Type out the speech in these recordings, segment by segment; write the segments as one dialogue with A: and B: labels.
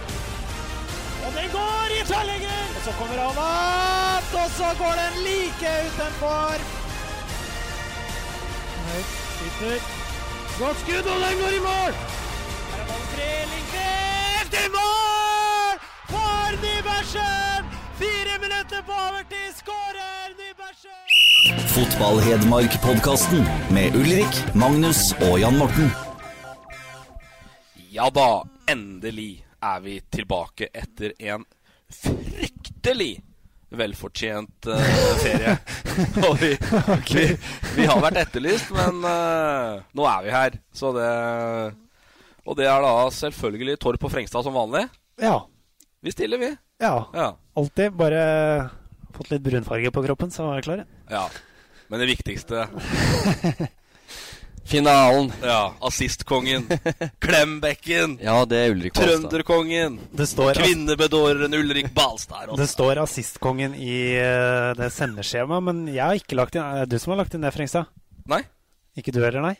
A: Og den går i tverrlegger! Og så kommer han opp, og så går den like utenfor. Høyt skyter. Godt skudd, og den går i mål! Her er ballen fri. Lindqvist i mål! For Nybergsen! Fire minutter på overtid, skårer Nybergsen!
B: Fotball-Hedmark-podkasten med Ulrik, Magnus og Jan Morten.
C: Ja da, endelig er vi tilbake etter en fryktelig velfortjent eh, ferie. Og vi, vi, vi har vært etterlyst, men eh, nå er vi her. Så det Og det er da selvfølgelig Torp og Frengstad som vanlig.
A: Ja.
C: Vi stiller, vi.
A: ja.
C: Ja.
A: Alltid. Bare fått litt brunfarge på kroppen, så er jeg klar.
C: ja. Men det viktigste
D: Finalen!
C: Ja, assistkongen. Klembekken.
D: Ja, det er Ulrik Balstad.
C: Trønderkongen.
A: Det står,
C: Kvinnebedåreren Ulrik Balstad.
A: det står assistkongen i eh, det sendeskjemaet, men jeg har ikke lagt inn Er det du som har lagt inn det, Frengstad?
C: Nei.
A: Ikke du heller, nei?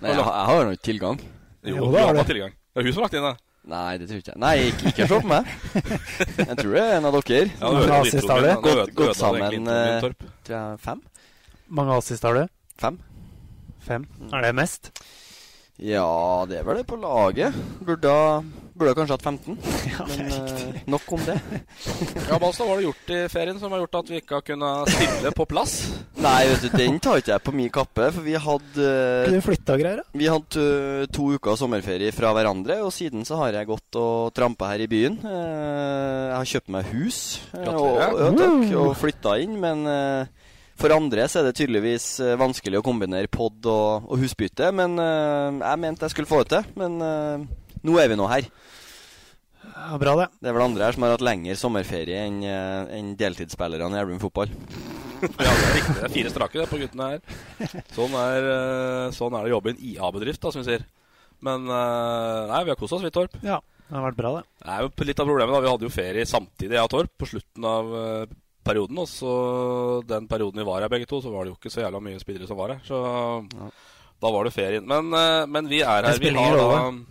D: Nei, jeg, har- jeg har jo ikke tilgang.
C: Jo,
A: Jo,
C: jo
A: det har
C: har
A: du.
C: tilgang. Det er hun som har lagt inn det.
D: Nei, det tror ikke jeg. Nei, ikke, ikke se på meg. Jeg tror det er en av dere.
C: Ja,
A: Mange
C: ødela
A: assist
C: introen
A: har du.
C: min, da.
D: Gått-
C: Øde-
D: gått
C: ødela
D: sammen,
C: egentlig introen min,
D: eh,
C: Torp.
D: Tror jeg er fem?
A: Mange assist har du?
D: Fem?
A: Fem? Er det mest?
D: Ja, det er vel det på laget. Burde, ha- burde ha kanskje hatt 15. Men eh, nok om det.
C: Ja, Balstad, hva har du gjort i ferien som har gjort at vi ikke har kunnet stille på plass?
D: Nei, vet du, den tar ikke jeg på min kappe, for vi hadde eh,
A: Kunne du flytta og greier, da?
D: Vi hadde eh, to uker sommerferie fra hverandre, og siden så har jeg gått og trampa her i byen. Eh, Jeg har kjøpt meg hus eh, og,
C: Gratulerer.
D: ja, takk, og flytta inn, men eh, for andre så er det tydeligvis eh, vanskelig å kombinere pod og, og husbytte. Men eh, jeg mente jeg skulle få det til, men eh, nå er vi nå her.
A: Ja, bra, det.
D: Det er vel andre her som har hatt lengre sommerferie enn eh, enn deltidsspillerne i Elverum fotball.
C: Ja, det er riktig. Det er fire strake det på guttene her. Sånn er, eh, sånn er det å jobbe i en IA-bedrift, da, som vi sier. Men eh, nei, vi har kost oss, vi, Torp.
A: Ja, det har vært bra, det.
C: Det er jo litt av problemet, da. Vi hadde jo ferie samtidig, jeg og Torp, på slutten av eh, perioden. Og så den perioden vi var her begge to, så var det jo ikke så jævla mye spillere som var her. Så da var det ferien. Men, eh, men vi er
A: Det
C: her. Vi
A: spiller
C: har
A: ingen
C: da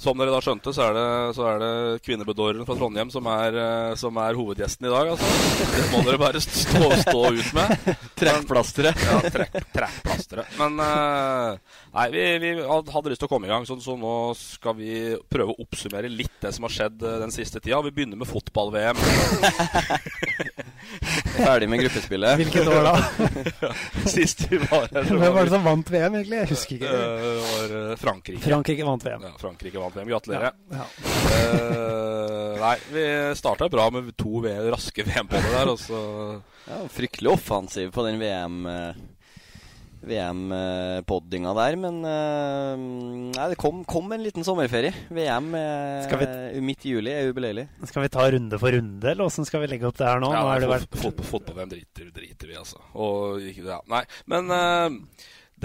C: som dere da skjønte, så er det, så er det kvinnebedåreren fra Trondheim som er, eh, som er hovedgjesten i dag. Altså. Det må dere bare stå, stå ut med.
D: Trekkplasteret.
C: Ja, trekk, trekkplasteret. Men eh, nei, vi, vi had- hadde lyst til å komme i gang, så, så nå skal vi prøve å oppsummere litt det som har skjedd eh, den siste tida. Vi begynner med fotball-VM.
D: Ferdig med gruppespillet.
A: Hvilket år da?
C: Sist vi var her, så
A: Hvem var
C: var
A: det som vant VM, egentlig? Jeg husker
C: det
A: ikke.
C: var eh, Frankrike.
A: Frankrike vant VM.
C: Ja, Frankrike vant VM. Gratulerer.
A: Ja.
C: Eh, nei, vi starta bra med to v raske VM-baller der, og så
D: Ja, fryktelig offensiv på den VM eh, VM-poddinga der, men eh, Nei, det kom, kom en liten sommerferie. VM eh,
A: Skal
D: midt i juli er ubeleilig.
A: Skal vi ta runde for runde, eller åssen skal vi legge opp det her nå?
C: ja,
A: nå
C: nei,
A: har det vært...
C: fot- fot- Fotball-VM driter, driter vi, altså. Og ikke det, ja. Nei, men eh,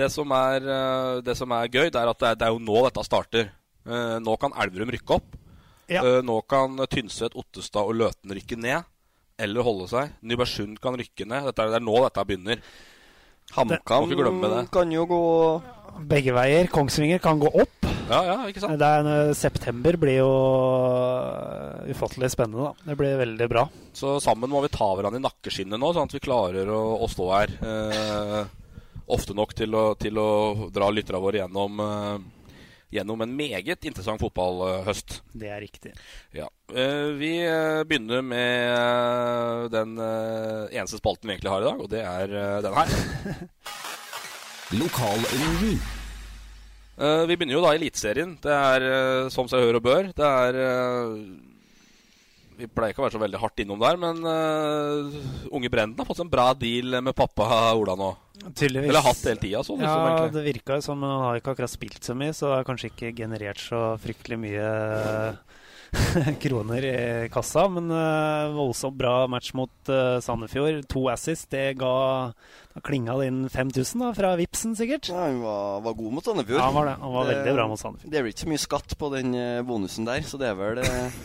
C: det, som er, eh, det som er gøy, det er at det er, det er jo nå dette starter. Eh, nå kan Elverum rykke opp.
A: Ja.
C: Eh, nå kan Tynset, Ottestad og Løten rykke ned. Eller holde seg. Nybergsund kan rykke ned. Dette er, det er nå dette begynner. Må ikke glemme
D: HamKam
C: det.
D: kan jo gå
A: Begge veier. Kongsvinger kan gå opp.
C: Ja, ja, ikke sant?
A: Det er,
E: eh,
A: en- september blir jo øh, ufattelig spennende, da. Det blir veldig bra.
C: Så sammen må vi ta hverandre i nakkeskinnet nå, sånn at vi klarer å, å stå her eh, ofte nok til å, til å dra lytterne våre gjennom, eh, gjennom en meget interessant fotballhøst.
E: Det er riktig.
C: Ja. Eh, Vi eh, begynner med eh, den eh, eneste spalten vi egentlig har i dag, og det er eh, den her. Lokalrevy. Eh, Vi begynner jo da i Eliteserien. Det er eh, som seg hør og bør. Det er eh, Vi pleier ikke å være så veldig hardt innom der, men eh, unge Brenden har fått en bra deal med pappa Ola nå.
E: Tydeligvis.
C: Eller hatt hele tida, sånn. liksom,
E: Ja,
C: egentlig.
E: det virka jo som men han har ikke akkurat spilt så mye, så det har kanskje ikke generert så fryktelig mye eh, kroner i kassa. Men eh, voldsomt bra match mot eh, Sandefjord. To assist, det ga Da klinga det inn 5000 da, fra Vipsen, sikkert.
D: Ja, han var, var god mot Sandefjord.
E: Ja, han var det. Han var
C: Eh,
E: veldig bra mot Sandefjord.
D: Det er vel ikke så mye skatt på den eh, bonusen der, så det er vel eh,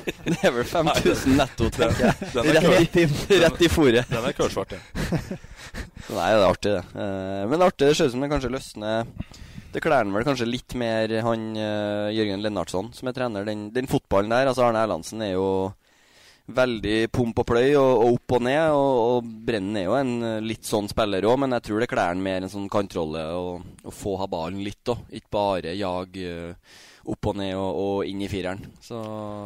D: Det er vel 5000 netto, tenker jeg.
C: Den er
D: Rett i,
C: køl-
D: rett i fôret.
C: Den er kølsvart, ja.
D: Nei, det er artig, det. Eh, Men det er artig, det ser ut som det kanskje løsner Det klær han vel kanskje litt mer han eh, Jørgen Lennartson som er trener. Den, den fotballen der, altså Arne Erlandsen er jo veldig pump og pløy og, og opp og ned. Og, og Brennen er jo en eh, litt sånn spiller òg, men jeg tror det klær han mer en sånn kantrolle og, og få ha ballen litt, da. Ikke bare jag eh, opp og ned og, og inn i fireren. Så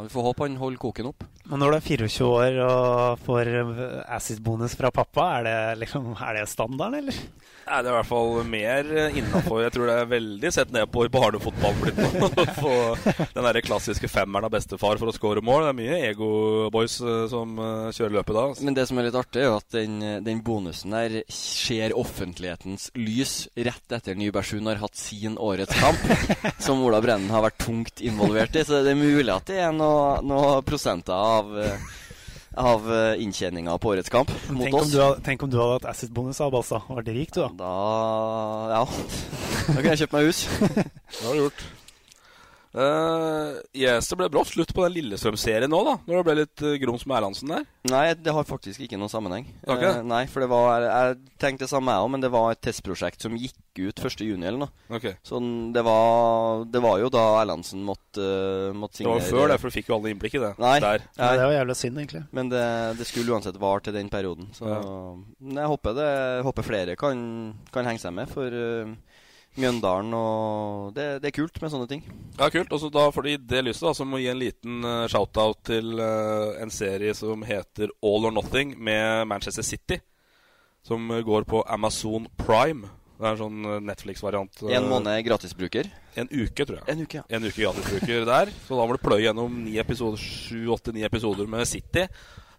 D: vi får håpe han holder koken opp.
E: Men når du er 24 år og får eh, assist-bonus fra pappa, er det, liksom, er det standarden, eller?
C: Nei, Det er i hvert fall mer innafor. Jeg tror det er veldig sett ned på i barnefotballen blitt nå. Få Den derre klassiske femmeren av bestefar for å score mål. Det er mye ego-boys eh, som eh, kjører løpet da. altså.
D: Men det som er litt artig, er jo at den, den bonusen der ser offentlighetens lys rett etter Nybergsund har hatt sin årets kamp, som Ola Brennen har vært tungt involvert i. Så det er mulig at det er noen noe prosenter av, eh, av eh, inntjeninga på årets kamp mot
E: Tenk om,
D: oss.
E: du hadde, tenk om du hadde hatt assist-bonus av Balsa. Var det rik, du, da?
D: Da Ja. Da kunne jeg kjøpt meg hus.
C: Det har du gjort. Eh, yes, det ble brått slutt på den Lillestrøm-serien nå, da. Når det ble litt eh, grums med Erlandsen der.
D: Nei, det har faktisk ikke noen sammenheng.
C: Det har ikke det?
D: Eh, nei, for det var Jeg tenkte det samme jeg òg, men det var et testprosjekt som gikk ut 1. juni eller noe.
C: Ok.
D: Så Sånn, det var, det var jo da Erlandsen måtte, eh, måtte
C: Det var
D: signere
C: jo før det, for du fikk jo alle innblikk i det.
D: Nei.
C: Der.
E: Ja, det var jævla synd, egentlig.
D: Men det, det skulle uansett vare til den perioden. Så Men jeg håper, det, jeg håper flere kan, kan henge seg med, for eh, Mjøndalen og det, det er kult med sånne ting.
C: Ja, kult. Og så da får de det lyset, da, så må vi gi en liten eh, shout-out til eh, en serie som heter All or Nothing med Manchester City. Som eh, går på Amazon Prime. Det er en sånn eh, Netflix-variant. eh,
D: En måned gratisbruker.
C: En uke, tror jeg.
D: En uke, ja.
C: En uke gratisbruker der. Så da må du pløye gjennom ni episoder, sju, åtte, ni episoder med City.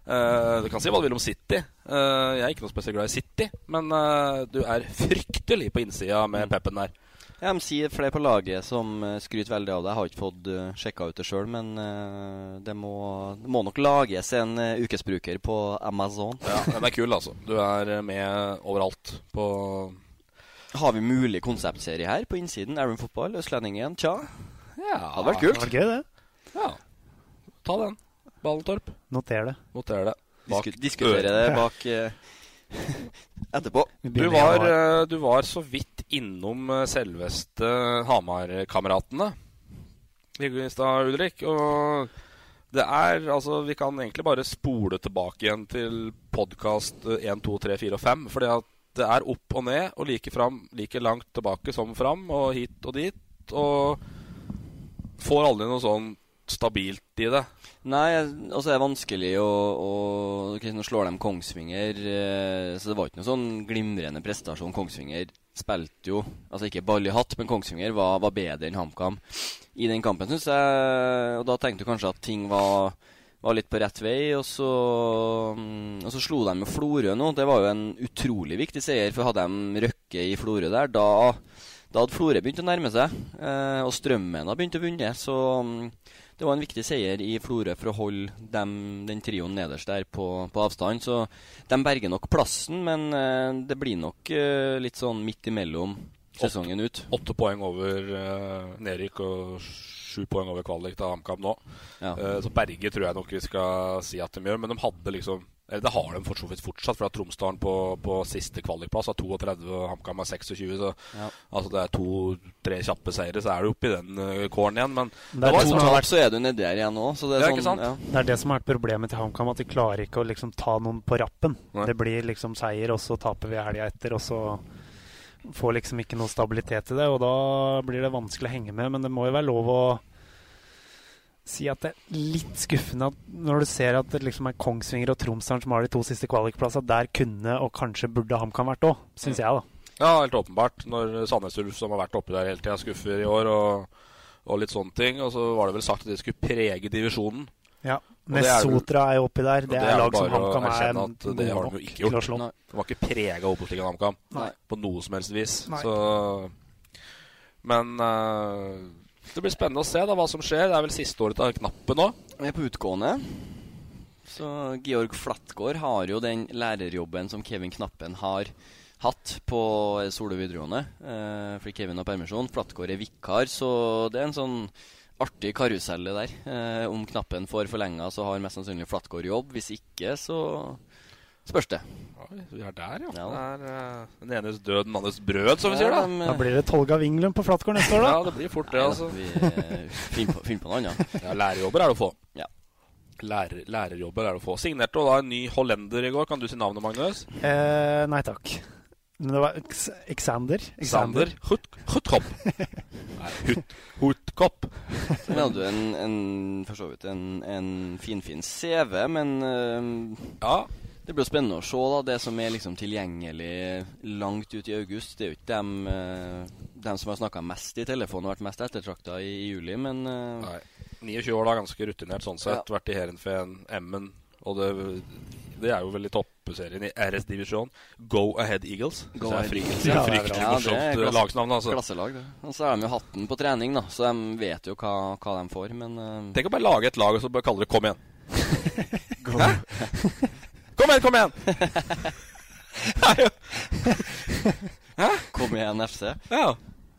C: Eh, du kan si hva du vil om City. Eh, jeg er ikke noe spesielt glad i City, men eh, du er fryktelig på innsida
D: Mm.
C: med peppen der.
D: Ja, men si flere på laget som eh, skryter veldig av det. Jeg har ikke fått uh, sjekka ut det sjøl, men eh, det, må, det må nok lages en eh, ukesbruker på Amazon.
C: Ja, den er kul, altså. Du er eh, med overalt på
D: Har vi mulig konseptserie her på innsiden? Erlend Fotball, Østlendingen, tja.
C: Ja,
D: hadde vært kult.
E: Det var gøy, det.
C: Ja. Ta den. Ballentorp.
E: Noter det.
C: Noter det. Bak
D: Disku diskutere det
C: øret.
D: bak eh, etterpå.
C: Du var, eh, du var så vidt innom eh, selveste Hamar-kameratene i stad, Ulrik. Og det er Altså, vi kan egentlig bare spole tilbake igjen til eh, podkast 1, 2, 3, 4 og 5. Fordi at det er opp og ned og like fram, like langt tilbake som fram, og hit og dit. Og får aldri noe sånn stabilt i det.
D: Nei, altså det er vanskelig å, å ok, Nå slår de Kongsvinger, eh, så det var ikke noe sånn glimrende prestasjon. Kongsvinger spilte jo Altså ikke ball i hatt, men Kongsvinger var, var bedre enn HamKam i den kampen, syns jeg. Og da tenkte du kanskje at ting var, var litt på rett vei, og så, mm, og så slo de jo Florø nå. Det var jo en utrolig viktig seier, for hadde de Røkke i Florø der, da da hadde Florø begynt å nærme seg, eh, og Strømmen hadde begynt å vinne. Så mm, det var en viktig seier i Florø for å holde dem, den trioen nederst der på, på avstand. Så de berger nok plassen, men eh, det blir nok eh, litt sånn midt imellom sesongen ut.
C: Åtte poeng over uh, nedrykk og sju poeng over kvalik til HamKam nå.
D: Ja.
C: Eh, så Berge tror jeg nok vi skal si at de gjør, men de hadde liksom eller Det har de for så vidt fortsatt, for at Tromsdalen på, på siste kvalikplass har 32 og HamKam har 26. Så
D: Ja.
C: altså det er to-tre kjappe seire, så er du oppe i den uh, kåren igjen. Men
E: Men
C: det
E: det er
C: var
E: to
C: liksom-
E: som har
D: Så er du nedi der igjen nå, så det er
C: Ja,
D: sånn
C: ikke sant?
D: Ja.
E: Det er det som har vært problemet til HamKam, at de klarer ikke å liksom ta noen på rappen.
C: Nei.
E: Det blir liksom seier, og så taper vi helga etter, og så får liksom ikke noe stabilitet i det, og da blir det vanskelig å henge med. Men det må jo være lov å si at det er litt skuffende at når du ser at det liksom er Kongsvinger og Tromsdalen som har de to siste kvalikplassene, der kunne og kanskje burde HamKam vært òg, syns jeg, da.
C: Ja, helt åpenbart. Når Sandnes Ulf, som har vært oppe der hele tida, skuffer i år og, og litt sånne ting. Og så var det vel sagt at de skulle prege divisjonen.
E: Ja.
C: Og det er vel-
E: Nesotra er jo oppi der.
C: og
E: Det er lag
C: vel
E: som
C: bare å
E: HamKam er
C: erkjenne at Det har de jo ikke
E: til å
C: gjort.
E: slå.
C: De var ikke prega av Obos-ligaen HamKam
E: Nei.
C: på noe som helst vis.
E: Nei.
C: Så, men eh, det blir spennende å se da, hva som skjer. Det er vel siste året til Knappen nå.
D: Vi er på utgående. Så Georg Flatgård har jo den lærerjobben som Kevin Knappen har hatt på Solø videregående. Eh, fordi Kevin har permisjon. Flatgård er vikar, så det er en sånn artig karusell det der. Eh, om Knappen får forlenga, så har mest sannsynlig Flatgård jobb. Hvis ikke, så spørs det.
C: Vi er der, ja.
D: Ja.
C: Det er eh, den enes død, den andres brød, som vi sier. da
E: Da blir det Tolga Vinglund på Flatgård neste år, da.
C: Ja, det blir fort det, altså.
D: Vi eh, finner på, finner på noe annet.
C: Ja, lærerjobber er det altså. å få.
D: Ja.
C: Lærer, lærerjobber er det å få. Signerte og da en ny hollender i går. Kan du si navnet, Magnus?
E: Eh, nei takk. Men det var Ex- Exander.
C: Sander Hut- Hutkopp. Nei, Hut- Hutkopp.
D: Vi hadde jo en, en for så vidt en, en finfin CV, men eh,
C: Ja.
D: Det blir jo spennende å se da, det som er liksom tilgjengelig langt ut i august. Det er jo ikke dem, eh, dem som har snakka mest i telefonen og vært mest ettertrakta i, i juli, men eh,
C: Nei. 29 år, da. Ganske rutinert sånn sett. Vært i Heerenveen, Emmen. Og det, det er jo vel i toppserien i RS divisjon. Go Ahead Eagles. Så det
D: Go
C: er
D: Ahead
C: fryktelig,
D: Eagles.
C: det er
D: Ja, det er
C: fryktelig
D: bra. Ja, det er
C: morsomt eh,
D: klasse-
C: lagsnavn, altså.
D: klasselag, det. Og så har de jo hatt den på trening, da, så de vet jo hva, hva de får, men eh,
C: Tenk å bare lage et lag og så bare kalle det Kom igjen. Hæ? Kom igjen, kom igjen! Det er jo-
D: kom igjen, FC.
C: Ja.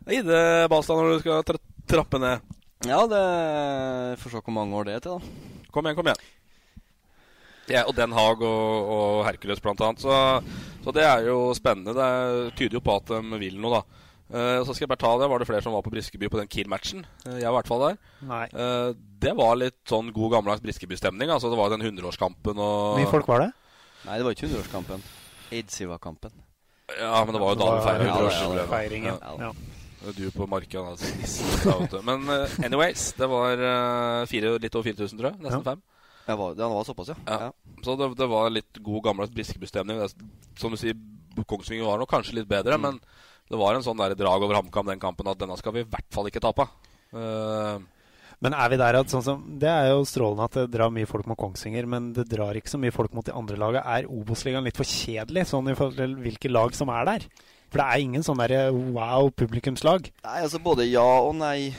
C: Gi det, Balstad, når du skal tra trappe ned.
D: Ja, det får se hvor mange år det er til, da.
C: Kom igjen, kom igjen. Ja, og Den Haag og, og Hercules blant annet. Så, så det er jo spennende. Det er, tyder jo på at de vil noe, da. Eh, så skal jeg bare ta det. Var det flere som var på Briskeby på den Kiel-matchen? Eh, jeg var i hvert fall der.
E: Nei.
C: Eh, det var litt sånn god gammeldags Briskeby-stemning. Altså, det var den 100-årskampen
E: Hvor
C: og
E: mye folk var det?
D: Nei, det var ikke 100-årskampen. Eidsiva-kampen.
C: Ja, men det var jo da vi feira
D: Ja, det var-
C: 100-årsjubileum.
E: Feiringen.
D: Ja.
E: Ja.
C: Du på marka da, så nissen da, vet du. Men eh, anyways, det var eh, fire, litt over 4000, tror jeg. Nesten
E: Ja.
C: fem.
D: Det var, det var såpass, ja.
C: Ja.
D: ja.
C: Så det, det var litt god gammeldags Briskeby-stemning. Det er- Som du sier, Kongsvinger var nok kanskje litt bedre, men det var en sånn der drag over HamKam den kampen at denne skal vi i hvert fall ikke tape. Eh,
E: Men er vi der at sånn som Det er jo strålende at det drar mye folk mot Kongsvinger, men det drar ikke så mye folk mot de andre lagene. Er Obos-ligaen litt for kjedelig sånn i forhold til hvilke lag som er der? For det er ingen sånn derre wow publikumslag.
D: Nei, altså både ja og nei.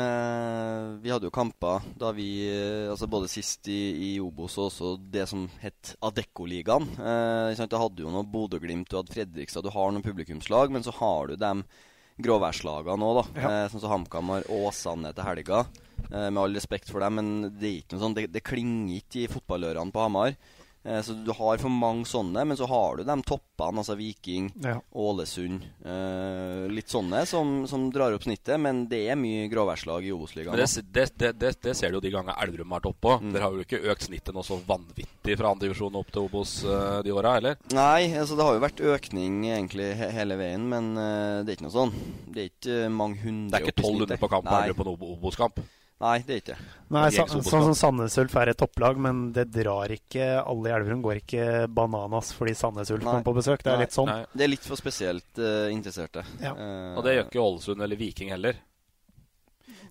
D: Eh, vi hadde jo kamper da vi eh, Altså både sist i, i Obos og også det som het Adecco-ligaen. Eh, ikke sant, du hadde jo noe Bodø-Glimt, du hadde Fredrikstad, du har noen publikumslag, men så har du dem gråværslagene òg, da. Eh, sånn som HamKam har Åsane til helga. Eh, med all respekt for dem, men det er ikke noe sånn Det, det klinger ikke i fotballørene på Hamar. Eh, så du har for mange sånne, men så har du de toppene, altså Viking. Ålesund. Eh, litt sånne som, som drar opp snittet, men det er mye gråværslag i
C: men
D: Obos-ligaen.
C: det,
D: nå.
C: det, det, det, det ser du jo de gangene Elverum har vært oppå. Dere har jo ikke økt snittet noe så vanvittig fra andredivisjon opp til Obos eh, de åra, eller?
D: Nei, altså det har jo vært økning egentlig he hele veien, men eh, det er ikke noe sånn. Det er ikke eh, mange hundre
C: Det er ikke
D: opp i
C: tolv
D: snittet.
C: runder på kamp
D: Nei.
C: Elverum på en Ob- Obos-kamp.
D: Nei, det er ikke det.
C: Det
E: Nei,
C: er
E: så,
C: ikke så
E: sånn som Sandnes Ulf er et topplag, men det drar ikke Alle i Elverum går ikke bananas fordi Sandnes Ulf
D: Nei.
E: kom på besøk. Det
D: Nei.
E: er litt sånn.
C: Nei.
D: Det er litt for spesielt eh, interesserte.
E: Ja.
D: Eh,
C: Og det gjør ikke Ålesund eller Viking heller.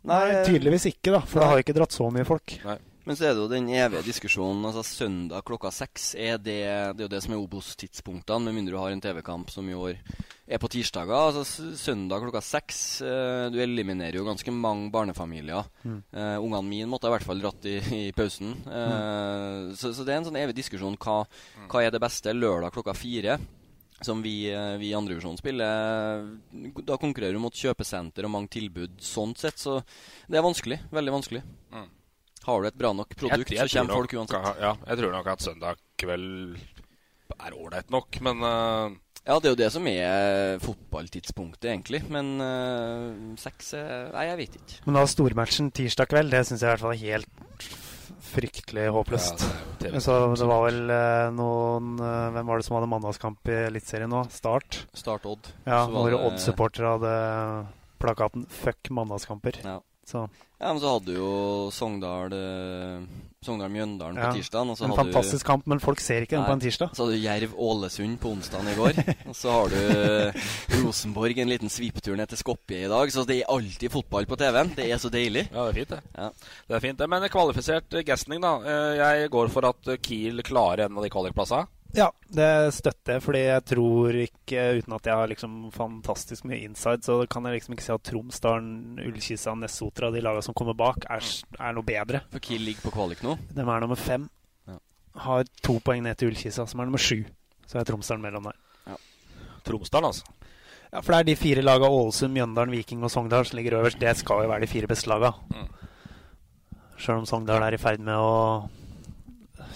E: Nei,
D: eh,
E: tydeligvis ikke, da. For det har jo ikke dratt så mye folk.
D: Men så er det jo den evige diskusjonen. altså Søndag klokka seks er det Det er jo det som er Obos-tidspunktene, med mindre du har en TV-kamp som i år er på tirsdager. altså s- Søndag klokka seks eh, Du eliminerer jo ganske mange barnefamilier. Eh, Ungene mine måtte i hvert fall dratt i, i pausen. Eh, så, så det er en sånn evig diskusjon. Hva, hva er det beste? Lørdag klokka fire som vi, eh, vi i andre divisjon spiller, eh, da konkurrerer du mot kjøpesenter og mange tilbud. Sånn sett, så det er vanskelig. Veldig vanskelig. Har du et bra nok produkt,
C: Mm. Jeg- jeg
D: så kommer
C: tror
D: folk
C: nok-
D: uansett.
C: Ja, jeg tror nok at søndag kveld er ålreit nok, men eh,
D: Ja, det er jo det som er eh, fotballtidspunktet, egentlig. Men eh, seks eh, Nei, jeg vet ikke.
E: Men da stormatchen tirsdag kveld, det syns jeg i hvert fall er helt f- fryktelig håpløst.
C: Ja, det er jo TV.
E: så det var vel eh, noen eh, Hvem var det som hadde mandagskamp i Eliteserien nå? Start?
D: Start Odd.
E: Ja,
D: Så var
E: hvor
D: det-
E: Odd-supportere hadde plakaten 'Fuck mandagskamper'.
D: Ja.
E: Så
D: Ja, men så hadde jo Sogndal eh, Sogndal-Mjøndalen
E: Ja.
D: på tirsdag.
E: En fantastisk kamp, men folk ser ikke den på en tirsdag.
D: Så hadde du Jerv-Ålesund på onsdagen i går. og så har du Rosenborg en liten sviptur ned til Skopje i dag. Så det er alltid fotball på TV-en. Det er så deilig.
C: Ja, det er fint, det. Det er fint, det. Men kvalifisert eh, Gessling, da. Eh, Jeg går for at eh, Kiel klarer en av de kvalikplassene.
E: Ja, det støtter jeg, fordi jeg tror ikke, uten at jeg har liksom fantastisk mye inside, så kan jeg liksom ikke si at Tromsdalen, Ullkisa, Nessotra, de lagene som kommer bak, er, s- er noe bedre.
D: For Kiel ligger på kvalik nå.
E: De er nummer fem. Har to poeng ned til Ullkisa, som er nummer sju. Så er Tromsdalen mellom der.
C: Tromsdalen, altså.
E: Ja, for det er de fire lagene Ålesund, Mjøndalen, Viking og Sogndal som ligger øverst. Det skal jo være de fire beste lagene. Sjøl om Sogndal er i ferd med å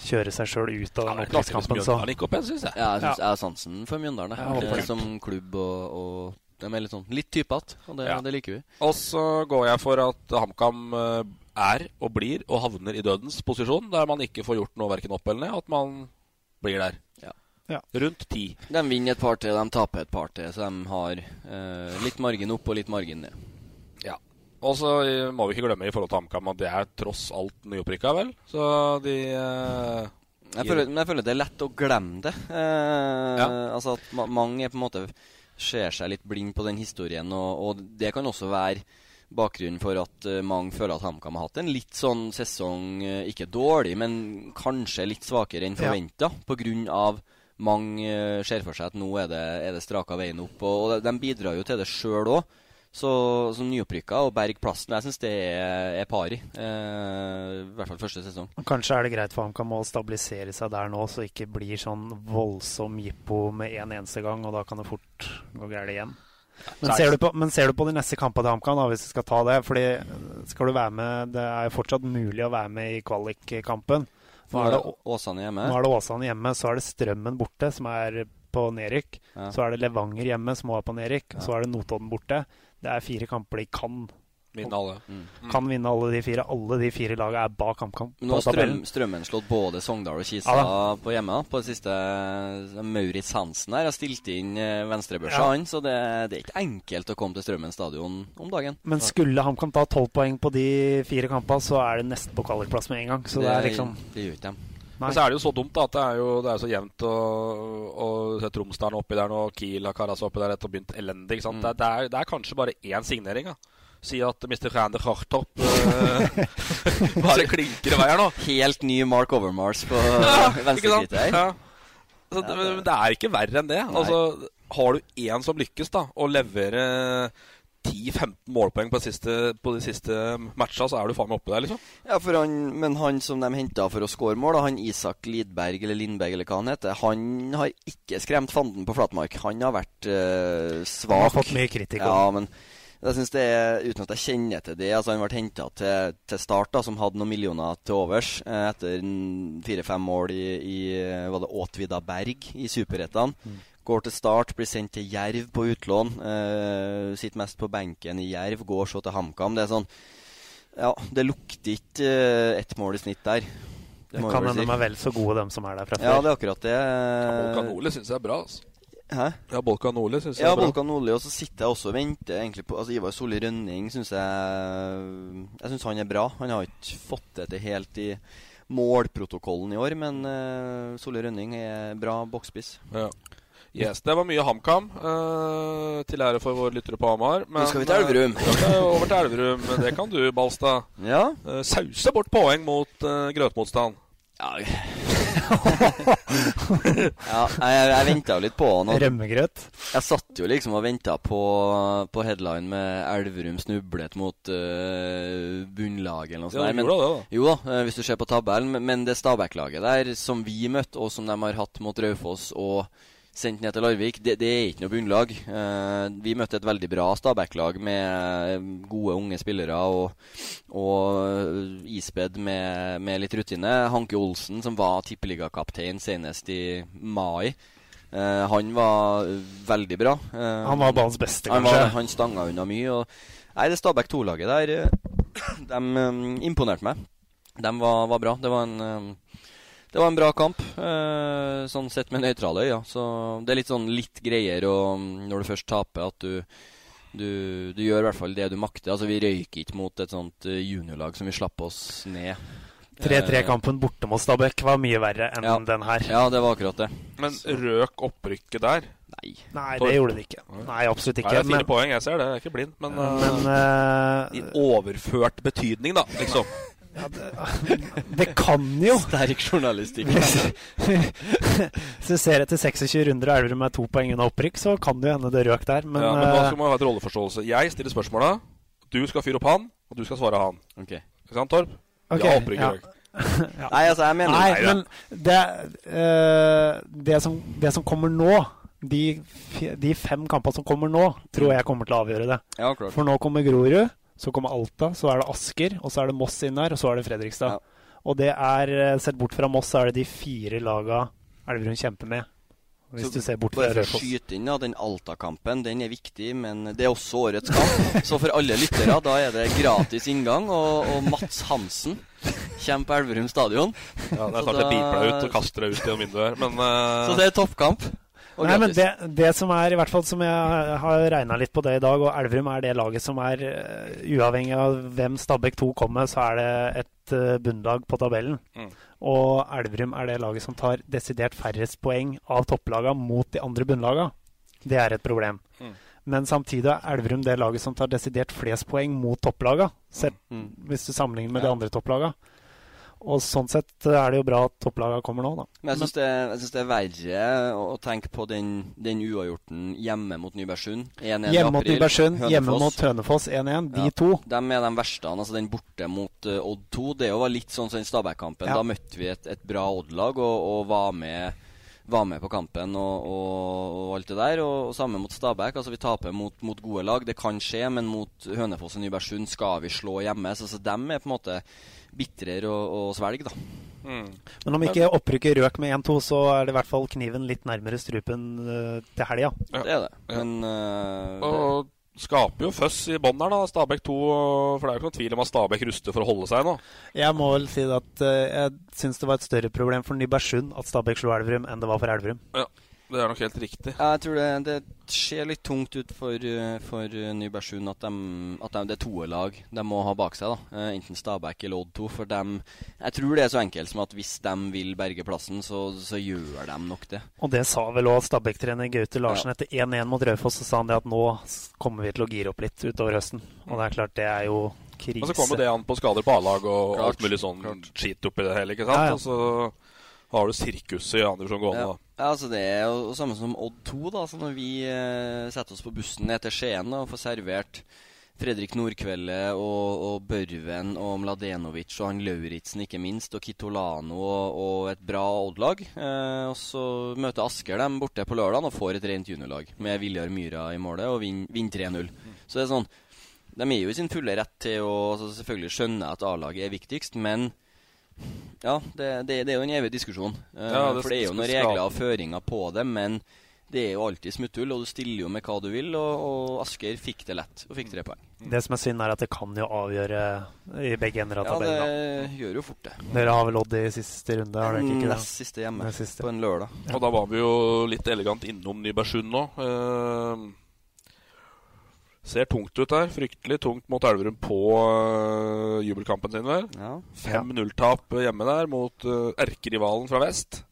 E: kjøre seg sjøl ut av den opprykkskampen, så
D: Ja, jeg syns jeg har sansen for Mjøndalen.
E: Ja,
D: jeg.
E: håper
D: Eh, som klubb og, og De er litt sånn litt typete, og det,
C: Ja.
D: det liker vi.
C: Og så går jeg for at HamKam eh, er og blir og havner i dødens posisjon, der man ikke får gjort noe verken opp eller ned. At man blir der. Rundt ti.
D: De vinner et par til, de taper et par til, så de har eh, litt margin opp og litt margin ned.
C: Ja. Og så eh, må vi ikke glemme i forhold til HamKam at det er tross alt nyopprykka, vel? Så de eh,
D: Jeg føler, men jeg føler det er lett å glemme det. Eh, Altså at ma mange er på en måte ser seg litt blind på den historien, og, og det kan også være bakgrunnen for at eh, mange føler at HamKam har hatt en litt sånn sesong eh, Ikke dårlig, men kanskje litt svakere enn
E: Ja.
D: forventa, pga. mange eh, ser for seg at nå er det, er det straka veien opp. Og, og de- de bidrar jo til det sjøl òg. Så som nyopprykka og berg plassen, jeg syns det er, er pari. Eh, I hvert fall første sesong.
E: Og Kanskje er det greit for HamKam å stabilisere seg der nå, så det ikke blir sånn voldsom jippo med en eneste gang, og da kan det fort gå gærent igjen. Men
F: Nei.
E: ser, du på, men ser du på de neste kampene til HamKam, da, hvis du skal ta det Fordi skal du være med Det er jo fortsatt mulig å være med i kvalikkampen.
D: Nå er det Å- Åsane hjemme.
E: Nå er det Åsane hjemme, så er det Strømmen borte, som er på nedrykk.
D: Ja.
E: Så er det Levanger hjemme, som også er på nedrykk.
D: Ja.
E: Så er det Notodden borte. Det er fire kamper de kan
C: vinner alle.
E: Kan vinne alle de fire. Alle de fire lagene er bak HamKam.
D: Mm.
E: på
D: Nå har strøm,
E: tabellen.
D: strømmen slått både Sogndal og Kisa
E: Ja
D: på hjemme. da, På det siste eh, Maurits Hansen her har stilt inn eh, venstrebørsa,
E: Ja.
D: han. Så det, det er ikke enkelt å komme til Strømmen stadion om dagen.
E: Men skulle HamKam ta tolv poeng på de fire kampene, så er det nesten på kvalikplass med en gang. Så det, er liksom
D: Det gjør ikke dem.
E: Nei.
C: Men så er det jo så dumt da, at det er jo det er så jevnt og, og se Tromsdalen oppi der nå, Kiel har kara seg oppi der etter å ha begynt elendig. Ikke sant? Det, er- det, er, det er kanskje bare én signering. da. Si at Mr. Rander Hartop eh, bare klinker i vei her nå.
D: Helt ny Mark Overmars på
C: Ja, ikke sant?
D: venstrekrittet her.
C: Ja. Så, det, men det er ikke verre enn det. Altså, har du én som lykkes, da, og leverer 10-15 målpoeng på, de siste, på de siste matcha, så er du faen meg oppi der, liksom.
D: Ja, for han, men han som de henta for å score mål, da, han Isak Lidberg eller Lindberg eller hva han heter, han har ikke skremt fanden på flatmark. Han har vært eh, svak.
E: Han har fått mye kritikk også.
D: Ja, men jeg synes det er, uten at jeg kjenner til det altså Han ble henta til, til Start, da, som hadde noen millioner til overs eh, etter en fire-fem mål i, i eh, var det Åtvida Berg i Superettan. Går til Start, blir sendt til Jerv på utlån. Eh, sitter mest på benken i Jerv, går så til HamKam. Det er sånn Ja, det lukter ikke eh, ett mål i snitt der.
E: Det
D: må jeg
E: kan
D: vel
E: hende
D: si.
E: de er vel så gode, dem som er der fra før.
D: Ja, det er akkurat det.
C: Bolkan Ole syns jeg er bra, altså.
D: Hæ?
C: Eh, Ja, Bolkan Ole syns jeg
D: Ja,
C: er bra.
D: Volkan Nordli, og så sitter jeg også og venter egentlig på altså Ivar Solli Rønning syns jeg Jeg syns han er bra. Han har ikke fått det til helt i målprotokollen i år, men uh, Solli Rønning er bra boksspiss.
C: Ja. Yes, det var mye HamKam, eh, til ære for våre lyttere på Hamar. men- eh,
D: Nå skal vi til Elverum.
C: Ja, det er over til Elverum. men Det kan du, Balstad.
D: Ja.
C: Eh, sause bort poeng mot eh, grøtmotstand.
D: Ja, Ja, jeg, jeg venta jo litt på han. og-
E: Rømmegrøt?
D: Jeg satt jo liksom og venta på, på headline med Elverum snublet mot uh, bunnlaget eller noe
C: Ja,
D: sånt.
C: de
D: der, men-
C: gjorde det,
D: Jo da, eh, hvis du ser på tabellen. men- Men det Stabæk-laget der som vi møtte, og som de har hatt mot Raufoss og sendt ned til Larvik, det, det er ikke noe bunnlag. Eh, vi møtte et veldig bra Stabæk-lag med eh, gode, unge spillere og, og eh, ispedd med, med litt rutine. Hanke Olsen, som var tippeligakaptein senest i mai. Eh, han var veldig bra. Eh,
E: Han var banens beste,
D: han var
E: kanskje.
D: det. Han stanga unna mye. Og nei, det Stabæk 2-laget der eh, De eh, imponerte meg. de var, var bra. Det var en eh, det var en bra kamp, eh, sånn sett med nøytrale øyne. Ja. Så det er litt sånn litt greier å, mm, når du først taper, at du, du, du gjør i hvert fall det du makter. Altså, vi røyker ikke mot et sånt eh, juniorlag som vi slapp oss ned.
E: 3-3-kampen borte mot Stabæk var mye verre enn
D: Ja.
E: den her.
D: Ja, det var akkurat det.
C: Men røk opprykket der?
D: Nei.
E: Nei, det gjorde det ikke. Nei, absolutt ikke,
C: Nei, det er fire
E: men-
C: poeng, jeg ser det. Jeg er ikke blind. Men,
E: Men,
C: eh, i overført betydning, da, liksom.
E: Det kan jo
D: Sterk journalistikk.
E: Hvis du ser etter 26 runder og Elverum er to poeng unna opprykk, så kan det jo hende det røk der. Men,
C: ja, men da
E: eh,
C: skal man ha et rolleforståelse. Jeg stiller spørsmåla, du skal fyre opp han, og du skal svare han.
D: Ok
C: Ikke sant, Torp?
E: Ok,
C: ja, opprykk i
E: ja.
C: dag.
E: Ja.
D: Nei, altså, jeg mener-
E: Nei,
D: Nei, ja.
E: men det, eh, det, som, det som kommer nå, de, fi- de fem kampene som kommer nå, tror jeg kommer til å avgjøre det.
D: Ja, klart.
E: For nå kommer Grorud, så kommer Alta, så er det Asker, og så er det Moss inn der, og så er det Fredrikstad. Og det er, eh, sett bort fra Moss, så er det de fire laga Elverum kjemper med. Hvis
D: Så
E: du ser bort fra
D: bare for å
E: Røros.
D: skyte inn, ja, Den Alta-kampen den er viktig, men det er også årets kamp. Så for alle lyttere, da er det gratis inngang. Og, og Mats Hansen kommer på Elverum stadion.
C: Ja, det
D: Så
C: er snart jeg
D: da-
C: piper deg ut og kaster deg ut gjennom vinduet her, men eh,
D: Så det er toppkamp. Og
E: Nei, men
D: gratis.
E: det, det som er, i hvert fall som jeg har regna litt på det i dag, og Elverum er det laget som er eh, Uavhengig av hvem Stabæk 2 kommer, så er det et eh, bunnlag på tabellen.
C: Mm.
E: Og Elverum er det laget som tar desidert færrest poeng av topplaga mot de andre bunnlaga. Det er et problem.
C: Mm.
E: Men samtidig er Elverum det laget som tar desidert flest poeng mot topplaga, selv,
D: Mm.
E: hvis du sammenligner med de andre topplaga. Og sånn sett er det jo bra at topplaga kommer nå, da.
D: Men jeg syns det, jeg synes det er verre å å tenke på den, den uavgjorten hjemme mot Nybergsund. 1-1 i
E: Hjemme mot
D: april.
E: Nybergsund, hjemme
D: Hønefoss.
E: mot Hønefoss 1-1. De
D: Ja.
E: to.
D: Dem er de verste. altså Den borte mot eh, Odd 2. Det jo var litt sånn som den Stabæk-kampen.
E: Ja.
D: Da møtte vi et, et bra Odd-lag og, og var, med, var med på kampen og, og, og alt det der. Og, og samme mot Stabæk. altså Vi taper mot, mot gode lag. Det kan skje, men mot Hønefoss og Nybergsund skal vi slå hjemme. Så, så dem er på en måte bitrere å å svelge, da.
E: Men om ikke opprykket røk med 1-2, så er det i hvert fall kniven litt nærmere strupen eh, til helga.
D: Det er det. Men eh,
C: Og skaper jo føss i bånn her, da. Stabæk 2. og- For det er jo ikke noen tvil om at Stabæk ruster for å holde seg nå.
E: Jeg må vel si det at eh, jeg syns det var et større problem for Nybergsund at Stabæk slo Elverum, enn det var for Elverum.
C: Ja, Det er nok helt riktig.
D: Ja, jeg tror det, det ser litt tungt ut for, eh, for eh, Nybergsund at, dem- at dem- det er toelag de må ha bak seg. da Eh, Enten Stabæk eller Odd 2. For dem, jeg tror det er så enkelt som at hvis de vil berge plassen, så, så gjør de nok det.
E: Og det sa vel òg Stabæk-trener Gaute Larsen etter 1-1 mot Raufoss. Så sa han det at nå s- kommer vi til å gire opp litt utover høsten. Og det er klart, det er jo krise.
C: Men så kommer det an på skader på A-lag og
E: Klart,
C: alt mulig sånn skit oppi det hele, ikke sant.
E: Ja, ja.
C: Og så har du sirkuset i andre divisjon gående,
D: Ja.
C: da.
D: Ja, altså Det er jo det samme som Odd 2. da Så Når vi eh, setter oss på bussen ned til Skien da, og får servert Fredrik Nordkvelde og, og Børven og Mladenovic og han Lauritzen ikke minst, og Kitolano og, og et bra Odd-lag. Eh, og så møter Asker dem borte på lørdag og får et rent juniorlag med Viljar Myra i målet og vinner vinn 3-0. Så det er sånn De er jo i sin fulle rett til å altså, Selvfølgelig skjønner jeg at A-laget er viktigst, men ja, det, det, det er jo en evig diskusjon. Eh,
C: Ja, det
D: for det er jo
C: skal
D: noen
C: skape-
D: regler og føringer på det, men det er jo alltid smutthull, og du stiller jo med hva du vil, og, og Asker fikk det lett, og fikk tre poeng.
E: Det som er synd, er at det kan jo avgjøre i begge ender av
D: Ja, det
E: tabellen. da.
D: gjør jo fort det.
E: Dere har vel odd i siste runde? Har dere ikke det?
D: Nest siste hjemme,
E: Nest siste.
D: på en lørdag.
C: Og da var vi jo litt elegant innom Nybergsund nå. Eh, ser tungt ut der. Fryktelig tungt mot Elverum på eh, jubelkampen sin, vel. 5-0-tap hjemme der mot eh, erkerivalen fra vest.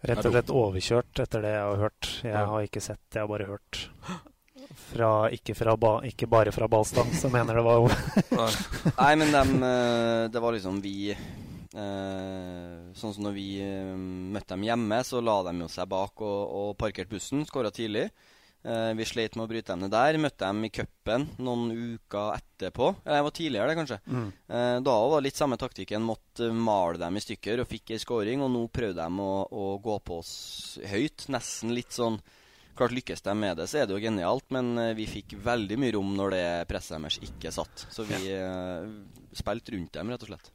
E: Rett og slett overkjørt etter det jeg har hørt.
C: Ja.
E: Jeg har ikke sett, jeg har bare hørt. Fra, ikke, fra ba, ikke bare fra Balstad, som mener det var over.
D: Nei, men dem, eh, det var liksom vi eh, Sånn som når vi eh, møtte dem hjemme, så la de jo seg bak og, og parkerte bussen. Skåra tidlig. Eh, vi sleit med å bryte dem ned der. Møtte dem i cupen noen uker etterpå. Eller det var tidligere, det, kanskje.
E: Mm.
D: Eh, da var det litt samme taktikken. Måtte male dem i stykker og fikk ei scoring. Og nå prøvde de å, å gå på oss høyt. Nesten litt sånn Klart lykkes de med det, så er det jo genialt, men eh, vi fikk veldig mye rom når det presset deres ikke satt. Så vi eh, spilte rundt dem, rett og slett.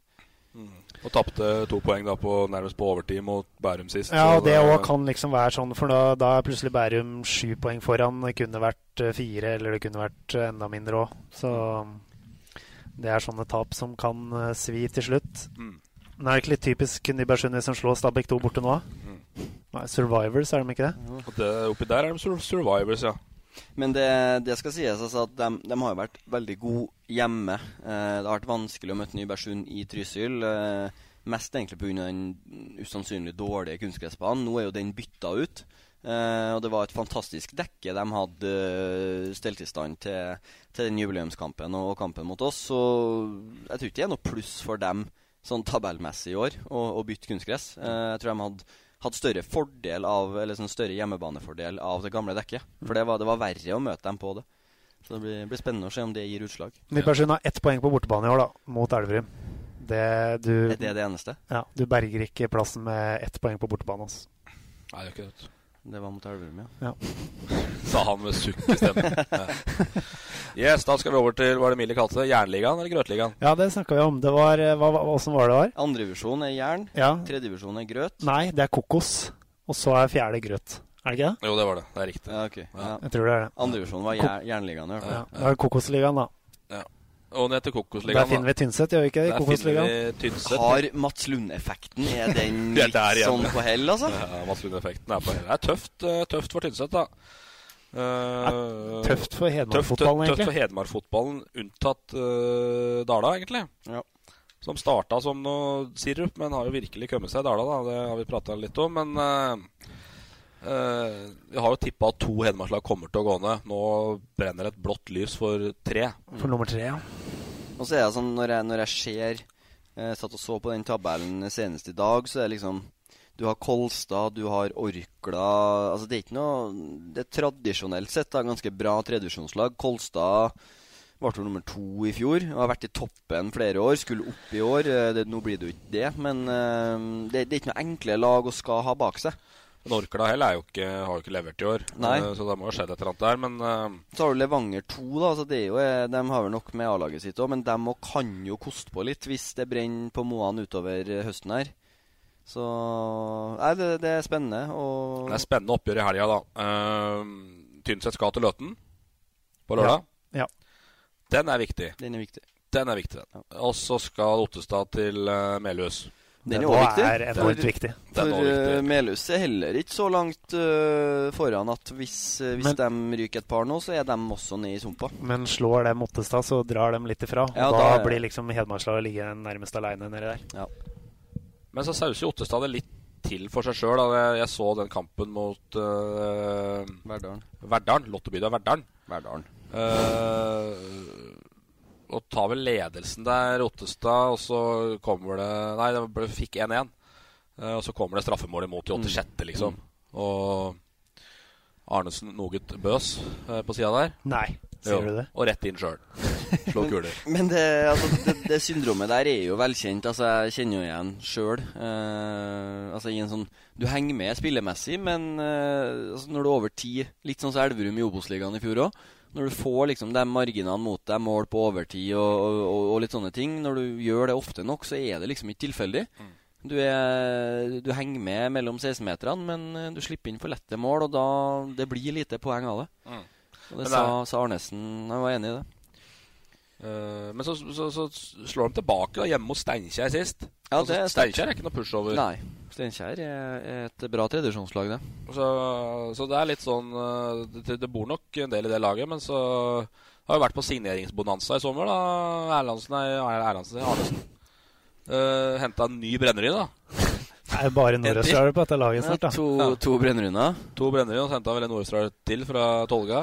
C: Og tapte to poeng da på, nærmest på overtid mot Bærum sist.
E: Ja, og det
C: Så
E: òg kan liksom være sånn, for da, da er plutselig Bærum sju poeng foran. Det kunne vært eh, fire, eller det kunne vært eh, enda mindre òg. Så Det er sånne tap som kan eh, svi til slutt.
C: Mm.
E: Men er det ikke litt typisk Nybergsund hvis de slår Stabæk 2 borte nå? Nei, Survivors, er de ikke det?
C: Og det, oppi der er de sur- survivors, ja.
D: Men det, det skal sies altså at de, har jo vært veldig gode hjemme. Eh, det har vært vanskelig å møte Nybergsund i Trysil. Eh, mest egentlig pga. den usannsynlig dårlige kunstgressbanen. Nå er jo den bytta ut. Eh, og det var et fantastisk dekke de hadde eh, stelt i stand til, til den jubileumskampen og kampen mot oss. Så jeg tror ikke det er noe pluss for dem sånn tabellmessig i år å, å bytte kunstgress. Eh, jeg tror de hadde hadde større fordel av, eller sånn større hjemmebanefordel av det gamle dekket. For det var, det var verre å møte dem på det. Så det blir, blir spennende å se om det gir utslag.
E: Nybergsund har ett poeng på bortebane i år, da, mot Elverum. Det, du,
D: Er det det eneste?
E: Ja, du berger ikke plassen med ett poeng på bortebane. Altså.
C: Nei, det er ikke det.
D: Det var mot Elverum, ja.
C: Sa han med sukk i stemmen. Ja. Yes, da skal vi over til Var det Mille kalte det? Jernligaen eller Grøtligaen?
E: Ja, det snakka vi om. Det var, eh, hva, hva, hvordan var det det var?
D: Andredivisjon er jern,
E: Ja.
D: tredjedivisjon er grøt.
E: Nei, det er kokos. Og så er fjerde grøt. Er det ikke det?
C: Jo, det var det. Det er riktig.
D: Ja, ok. Ja.
E: Jeg tror det er det.
D: Andredivisjon var
E: Ko-
D: jer jernligaen, i hvert
E: Ja.
D: fall.
E: Da er det Kokosligaen, da.
C: Og ned til
E: Der
C: Kokosligaen.
E: finner vi Tynset, gjør vi ikke det? i
C: Der finner
E: Kokosligaen.
C: vi Tynset.
D: Har Mats Lund-effekten? Er den
C: Det er
D: litt
C: der igjen.
D: sånn på hell, altså?
C: Ja, Mats Lund-effekten er på hele. Det er tøft, eh, tøft for Tynset, da. Eh,
E: Tøft for
C: tøft,
E: Hedmarkfotballen,
C: tøft, tøft for
E: egentlig.
C: Hedmark-fotballen, unntatt eh, Dala, egentlig.
D: Ja.
C: Som starta som noe sirup, men har jo virkelig kommet seg i Dala. da, Det har vi prata litt om. Men eh, eh, vi har jo tippa at to Hedmarkslag kommer til å gå ned. Nå brenner et blått lys for tre.
E: For nummer tre, ja.
D: Og så er det sånn når jeg, når jeg ser eh, Satt og så på den tabellen senest i dag, så er det liksom Du har Kolstad, du har Orkla Altså det er ikke noe Det er tradisjonelt sett da, ganske bra tredjevisjonslag. Kolstad ble vel nummer to i fjor og har vært i toppen flere år. Skulle opp i år. eh, Det, nå blir det jo ikke det, men eh, det, det er ikke noe enkle lag å skal ha bak seg.
C: Men Orkla heller er jo ikke, har jo ikke levert i år,
D: Nei.
C: Eh, så det må ha skjedd et eller annet der. Men eh,
D: Så har du Levanger 2, da. Altså det er jo, eh, de har vel nok med A-laget sitt òg, men de må- kan jo koste på litt hvis det brenner på Moan utover eh, høsten her. Så Nei, det, det er spennende. Og
C: Det er spennende oppgjør i helga, da. Ehm, Tynset skal til Løten på lørdag.
E: Ja. Ja.
C: Den er viktig.
D: den er viktig.
C: Den er viktig, den. Og så skal Ottestad til eh, Melhus.
D: Den er
E: Det
D: òg
E: var-
D: viktig.
E: er enormt
D: For-
E: viktig.
C: Den
D: For
C: er også
D: eh,
C: viktig.
D: Melhus er heller ikke så langt eh, foran at hvis, eh, hvis de ryker et par nå, så er de også nede i sumpa.
E: Men slår dem Ottestad, så drar dem litt ifra.
D: Ja,
E: og da
D: da-
E: blir liksom Hedmarkslaget ligge nærmest aleine nedi der.
C: Men så sauser jo Ottestad det litt til for seg sjøl. Jeg, jeg så den kampen mot uh,
D: Verdalen.
C: Verdalen. Lottebyen Verdalen.
D: Verdalen.
C: Eh, og tar vel ledelsen der, Ottestad, og så kommer det Nei, det ble, fikk 1-1. Eh, og så kommer det straffemål imot i
E: Mm.
C: 86., liksom. Og Arnesen noe bøs eh, på sida der.
E: Nei, sier
C: Jo,
E: du det?
C: Og rett inn sjøl. Slå kuler.
D: Men det, altså, det, det syndromet der er jo velkjent. Altså, jeg kjenner jo igjen sjøl. Eh, altså, i en sånn Du henger med spillemessig, men eh, altså, når du er over tid Litt sånn som Elverum i Obos-ligaen i fjor òg. Når du får liksom de marginene mot deg, mål på overtid og, og, og, og litt sånne ting Når du gjør det ofte nok, så er det liksom ikke tilfeldig. Du, er, du henger med mellom 16-meterne, men eh, du slipper inn for lette mål, og da Det blir lite poeng av det.
C: Mm.
D: Og det
C: det er-
D: sa, sa Arnesen. Han var enig i det.
C: Eh, men så, så, så slår de tilbake da, hjemme mot Steinkjer sist.
D: Ja,
C: Altså,
D: det er sterkt.
C: Steinkjer er ikke noe pushover.
D: Nei. Steinkjer er er et bra tradisjonslag, det.
C: Så, så det er litt sånn eh, det, det bor nok en del i det laget, men så har jo vært på signeringsbonanza i sommer, da. Erlandsen er Erlandsen er Arnesen. Uh, Henta en ny Brennerud, da.
E: Det er jo bare Nordøstjørdal på dette laget snart, da.
D: to
C: Ja.
D: to Brønnrunder.
C: To Brennerud, og så henta vel en Nordstrand til fra Tolga.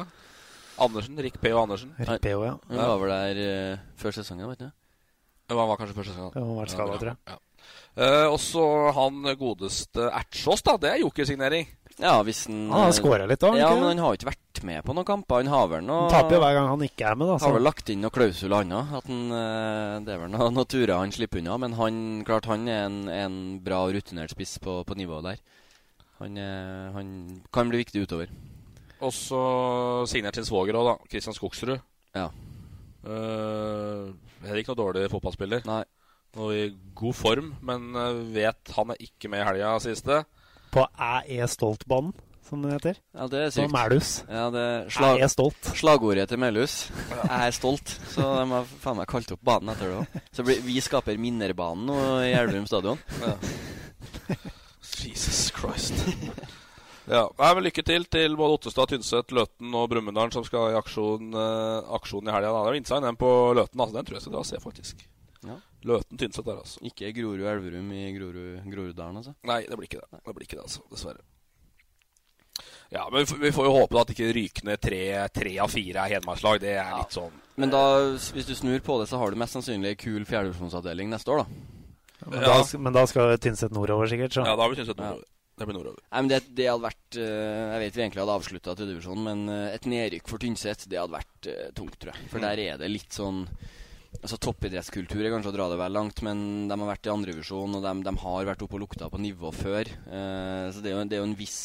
C: Andersen, Rick P. og Andersen.
E: Rick Peo, ja.
D: Hun
C: Ja.
D: var vel der eh, før sesongen, vet du.
C: Det var var kanskje første sesongen.
E: Det må ha vært skada, tror jeg.
C: Ja. Eh, og så han godeste Ertsås, da. Det er jokersignering.
D: Ja, hvis han
E: Han har
D: eh,
E: skåra litt òg,
D: Ja,
E: ikke
D: men
E: sant?
D: han har jo ikke vært med på noen kamper. Han har vel noe
E: Han taper jo hver gang altså. han ikke er med, da.
D: Har vel
E: Så.
D: lagt inn noen klausuler, han òg. At han eh, Det er vel noen noe turer han slipper unna. Men han klart han er en, en bra og rutinert spiss på, på nivået der. Han, eh, han kan bli viktig utover.
C: Og så signert sin svoger òg, da. Christian Skogsrud.
D: Ja.
C: Eh, heller ikke noe dårlig fotballspiller.
D: Nei.
C: Og i god form, men eh, vet han er ikke med i helga siste.
E: På EE E Stolt-banen. som det heter.
D: Ja, det er sykt.
E: På Melhus.
D: Ja, det er
E: Nei, jeg er E stolt.
D: Slagordet til Melhus. Jeg er stolt. Så de har faen meg kalt opp banen etter det òg. Så blir, vi skaper Minnerbanen nå i Elverum stadion.
C: Jesus Christ. Ja, Nei, men Lykke til til både Ottestad, Tynset, Løten og Brumunddal som skal i aksjon, eh, aksjon i helga. Det er jo inside den på Løten. Altså, den tror jeg skal dra og se, faktisk.
D: Ja.
C: Løten, Tynset der, altså.
D: Ikke Grorud Elverum i Grorud, Groruddalen, altså.
C: Nei, det blir ikke det. Det blir ikke det, altså. Dessverre. Ja, men vi får- vi får jo håpe da at ikke rykende tre, tre av fire er hedmarkslag. Det er litt sånn
D: Men da, hvis du snur på det, så har du mest sannsynlig kul fjerdedivisjonsavdeling neste år, da.
E: Men, da, men da skal Tynset nordover, sikkert. Så.
D: Ja, da
C: har vi Tynset nordover. Det blir nordover.
D: Nei, men det, det hadde vært eh, Jeg vet vi egentlig hadde avslutta tredjedivisjonen, men eh, et nedrykk for Tynset, det hadde vært eh, tungt, tror jeg. For
C: Mm.
D: der er det litt sånn Altså Toppidrettskultur er kanskje å dra det vel langt, men de har vært i andrevisjon, og de, de har vært oppe og lukta på nivå før. Eh, så det er jo, det er jo en viss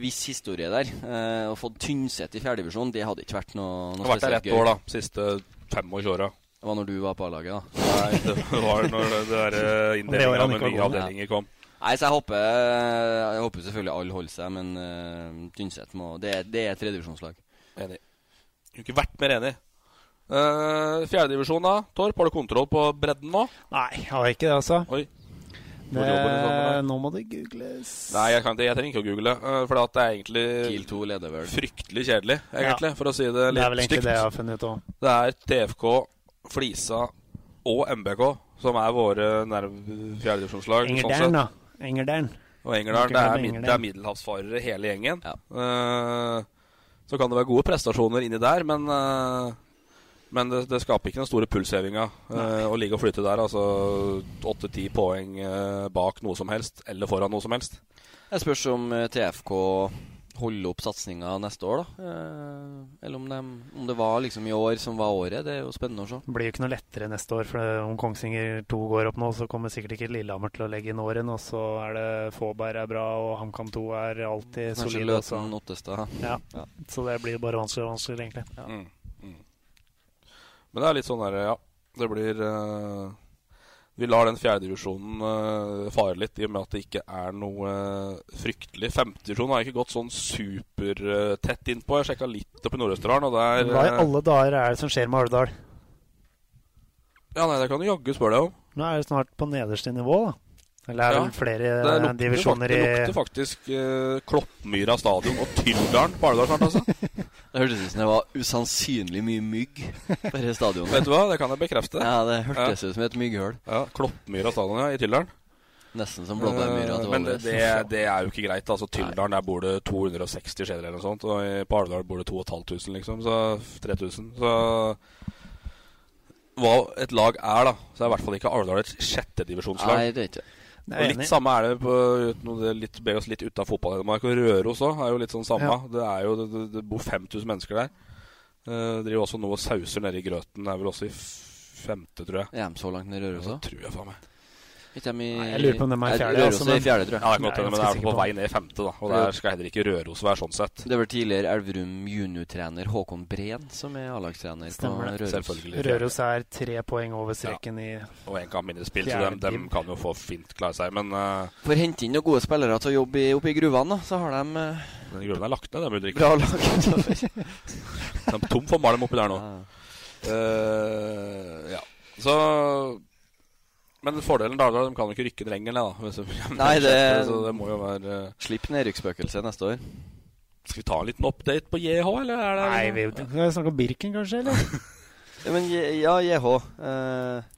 D: Viss historie der. Eh, å få Tynset i fjerdedivisjon, det hadde ikke vært noe,
C: Det
D: noe
C: har vært der
D: spesielt
C: ett år, da. Siste 25 åra.
D: Det var når du var på A-laget, da.
C: Nei, det var når det- det der, eh, inndelingen av med nye avdelinger kom.
D: Nei, så jeg håper, eh, jeg håper selvfølgelig alle holder seg, men eh, Tynset må Det, er- det er et tredjevisjonslag.
C: Enig. Kunne ikke vært mer enig. Uh, Fjerdedivisjon, da. Torp, har du kontroll på bredden nå?
E: Nei, har jeg ikke det, altså.
C: Oi. Hvor jobber du
E: Det,
C: sammen
E: nå må det googles.
C: Nei, jeg, kan, ikke- jeg trenger ikke å google. eh, For at det er egentlig fryktelig kjedelig, egentlig.
E: Ja.
C: For å si det litt
E: Det er vel egentlig
C: stygt.
E: det jeg har funnet ut òg.
C: Det er TFK, Flisa og MBK som er våre nær- fjerdedivisjonslag. sånn sett.
E: Engerdalen, da. Engerdalen.
C: Og Engerdal,
E: Ikke
C: det
E: glemme
C: er, mid,
E: Engerdal.
C: det er middelhavsfarere hele gjengen. Eh, så kan det være gode prestasjoner inni der, men, eh, men det, det skaper ikke den store pulshevinga eh, å ligge og flytte der. Altså åtte-ti poeng eh, bak noe som helst, eller foran noe som helst.
D: Jeg spørs om eh, TFK holder opp satsinga neste år, da. Eh, eller om, dem- om det var liksom i år som var året. Det er jo spennende å se.
E: Det blir jo ikke noe lettere neste år, for det- om Kongsvinger 2 går opp nå, så kommer sikkert ikke Lillehammer til å legge inn åren, og så er det Fåberg er bra, og HamKam 2 er alltid
D: Kanskje
E: solid.
D: Løten,
E: også.
D: Ottestad.
E: Ja. Så det blir bare vanskeligere og vanskeligere, egentlig.
C: Mm. Mm. Men det er litt sånn der, ja. Det blir eh, Vi lar den fjerdedivisjonen uh, fare litt, i og med at det ikke er noe eh, fryktelig. Femtedivisjonen har jeg ikke gått sånn supertett innpå. Jeg sjekka litt opp i Nord-Østerdalen, og der
E: Hva i
C: eh,
E: alle dager er det som skjer med Alvdal?
C: Ja, nei, det kan du jaggu spørre deg om.
E: Nå er det snart på nederste nivå, da. Eller er det
C: Ja.
E: vel flere
C: Det lukter
E: eh, divisjoner
C: fakt- Det lukter
E: i
C: faktisk eh, Kloppmyra stadion og Tylldalen på Alvdal snart, altså.
D: Det hørtes ut som det var usannsynlig mye mygg på dette stadionet.
C: Vet du hva, det kan jeg bekrefte.
D: Ja, det hørtes ut som et mygghull.
C: Ja, Kloppmyra stadion, ja, i Tylldalen.
D: Nesten som Blåbærmyra til
C: Eh, Men det,
D: Valdres.
C: det, det er jo ikke greit. Altså, Tylldalen, der bor det 260 skjeder eller noe sånt. Og i- på Alvdal bor det 2500, liksom. Så 3000. Så hva et lag er, da, så er i hvert fall ikke Alvdal et sjettedivisjonslag.
D: Nei, det er ikke.
C: Og
E: Nei, jeg er
C: litt
E: enig.
C: samme er det på uten noe- det er litt, ber oss litt ut av fotball-Hedmark. Og Røros òg er jo litt sånn samme.
E: Ja.
C: Det, er jo, det, det, det bor 5000 mennesker der. Uh, driver også noe sauser nede i grøten. Er vel også i f- femte, tror jeg.
D: Er de så langt ned i Røros
C: Ja,
D: òg?
C: det tror jeg faen meg.
D: Ikke dem i
E: Nei, jeg lurer på om dem er i fjerde,
D: Røros
E: altså,
D: er
E: men-
D: i fjerde, tror jeg.
C: Ja, det kan godt hende, men det er på vei
D: ned.
C: ned i femte, da. Og der skal heller ikke Røros være sånn sett.
D: Det er vel tidligere Elverum juniortrener Håkon Breen som er A-lagstrener på
E: Stemmer det.
D: Røros.
C: Selvfølgelig.
E: Røros er tre poeng over streken i
C: Og en kamp mindre spilt, så
E: Fjerde
C: dem, dem
E: div.
C: kan jo få fint klare seg. Men eh,
D: For å hente inn noen gode spillere til å jobbe i, oppe i gruvene, da, så har de eh,
C: den grunnen er lagt ned, den burde drikke.
D: bra lag.
C: De er tom for malm oppi der nå. Eh, ja. Så Men fordelen da, da, de kan jo ikke rykke drengen ned, da. Hvis de,
D: Nei, det-
C: Så det må jo være eh,
D: Slipp nedrykksspøkelset neste år.
C: Skal vi ta en liten update på JH, eller er det
E: Nei, vi kan vi snakke om Birken, kanskje? eller?
D: Ja, men J- ja, JH. eh,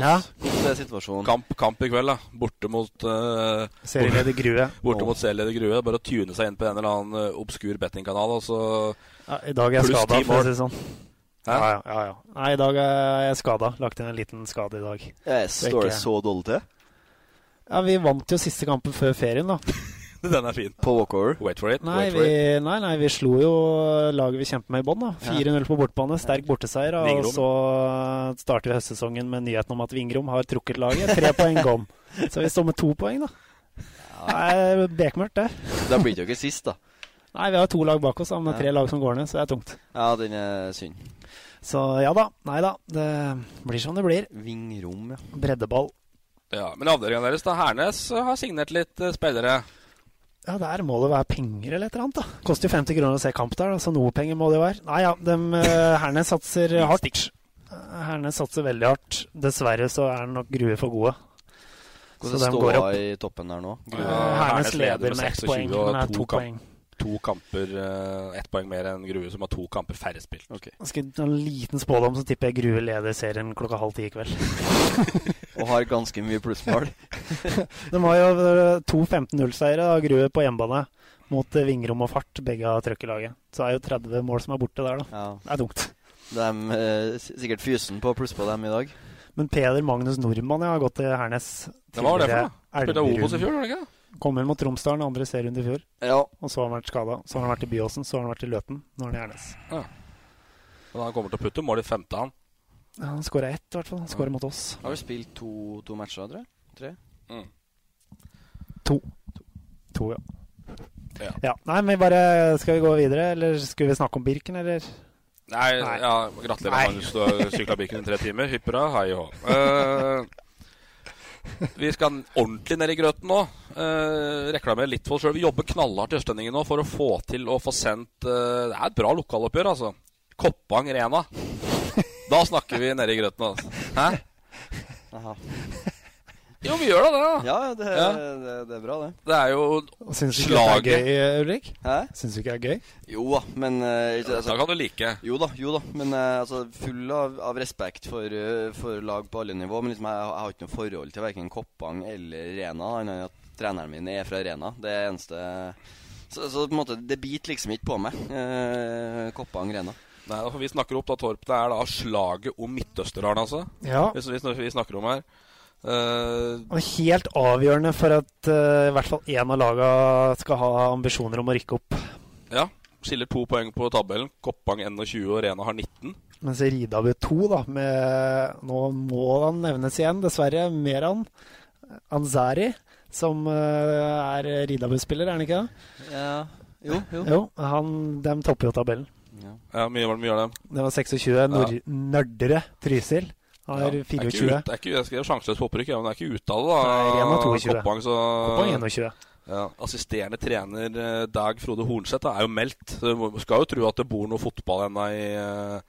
E: Ja.
D: hvordan er situasjonen?
C: kamp, kamp i kveld, da. Borte mot uh,
E: Serieleder Grue.
C: Borte mot serieleder Grue. Det er Bare å tune seg inn på en eller annen eh, obskur bettingkanal, og så
E: Ja, I dag er jeg
C: Pluss
E: skada,
C: ti
E: for å si
C: mål.
E: det sånn.
C: Hæ?
E: Ja, ja, ja, ja. Nei, i dag er jeg skada. Lagt inn en liten skade i dag.
D: Eh, står det
E: ikke-
D: så dårlig til?
E: Ja, Vi vant jo siste kampen før ferien, da.
C: Den er fin.
D: På walkover?
C: Wait for it.
E: Nei,
C: wait for
E: vi,
C: it.
E: nei, nei, vi slo jo laget vi kjemper med i bånn. da. 4-0 på bortebane, sterk borteseier. da. Og
C: Vingrom.
E: så starter vi høstsesongen med nyheten om at Vingrom har trukket laget. Tre poeng gom. Så vi står med to poeng, da. Det er bekmørkt, det.
D: Da blir det jo ikke sist, da.
E: Nei, vi har to lag bak oss, da, men det er tre lag som går ned, så det er tungt.
D: Ja, den er synd.
E: Så ja da. Nei da. Det blir som det blir.
D: Vingrom, ja.
E: Breddeball.
C: Ja, men avdelingen deres, da. Hernes eh, har signert litt eh, spillere.
E: Ja, der må det være penger eller et eller annet, da. Koster jo 50 kroner å se kamp der, da, så noe penger må det jo være. Nei ja, dem eh, herne satser hardt. Herne satser veldig hardt. Dessverre så er nok Grue for gode.
D: Hvordan
E: dem
D: står hun i toppen der nå?
E: Eh, Hernes leder med ett
C: 26
E: poeng,
C: og
E: men er
C: to
E: to
C: kamp-
E: poeng.
C: To kamper, eh, ett poeng mer enn Grue, som har to kamper færre spilt.
E: Skal jeg ta en liten spådom, så tipper jeg Grue leder serien klokka halv ti i kveld.
D: Og har ganske mye plussmål.
E: De har jo eh, to 15-0-seiere av Grue på hjemmebane mot eh, Vingrom og Fart, begge av trøkkelaget. Så er jo 30 mål som er borte der, da. Det er dumt.
D: De eh, s- sikkert fysen på pluss på dem i dag.
E: Men Peder Magnus Nordmann ja, har gått til Hernes.
D: Ja, hva var det for
E: tidligere
D: noe? Spilte
E: Elverum.
D: Obos i fjor, var det ikke
E: Kom inn mot Tromsdalen, andre serierunde i fjor.
D: Ja.
E: Og så har han vært skada. Så har han vært i Byåsen, så har han vært i Løten. Nå er han i Hernes.
C: Ja. Men han kommer til å putte mål i femte, han.
E: Ja, han skåra ett, i hvert fall. Han skåra mot oss.
D: Har du spilt to, to matcher, tror jeg? Tre?
E: To. To, ja.
C: Ja.
E: Nei, men bare Skal vi gå videre, eller skulle vi snakke om Birken, eller?
C: Nei, ja, gratulerer,
E: Nei.
C: Magnus. Du har sykla biken i tre timer. Hypp hurra, hei og hå. Eh, vi skal ordentlig ned i grøten nå. Uh, Reklamerer litt for oss sjøl. Vi jobber knallhardt i Østlendingen nå for å få til å få sendt eh, Det er et bra lokaloppgjør, altså. Koppang Rena. Da snakker vi nede i grøten, altså. Hæ? Jo, vi gjør da det, da.
D: Ja, det,
C: Ja.
D: Det, det er bra, det.
C: Det er jo
E: Syns du ikke
C: slaget
E: det er gøy, Ulrik?
D: Hæ?
E: Syns du ikke det er gøy?
D: Jo da, men eh, ikke- altså,
C: Da sånn kan du like.
D: Jo da, jo da. Men eh, altså, full av, av respekt for, eh, for lag på alle nivå. Men liksom, jeg, jeg har ikke noe forhold til verken Koppang eller Rena, annet enn at treneren min er fra Rena. Det er eneste Så, så på en måte, det biter liksom ikke på meg. eh, Koppang, Rena.
C: Nei, da får vi snakker opp da, Torp. Det er da slaget om Midtøsterdalen, altså.
E: Ja.
C: Hvis vi, sn- vi snakker om her. Eh,
E: Og helt avgjørende for at eh, i hvert fall én av laga skal ha ambisjoner om å rykke opp.
C: ja. Skiller to poeng på tabellen. Koppang 21 og Rena har 19.
E: Mens Ridabu 2, da, med Nå må han nevnes igjen, dessverre. Meran Anzari, som eh, er Ridabu-spiller, er han ikke det?
D: Ja. Jo, jo.
E: Jo, han, de topper jo tabellen.
C: Ja, mye var det mye av dem.
E: Det var 26. Nord Nørdre Trysil har
C: Ja, det er ikke
E: 24.
C: ut- det er ikke- Jeg skrev sjanseløst på opprykk, ja, men det er ikke uttale, da.
E: Nei, Rena 22.
C: Koppang, så
E: Koppang 21.
C: Ja. Assisterende trener eh, Dag Frode Hornseth er jo meldt. Så du må- skal jo tro at det bor noe fotball ennå i, eh,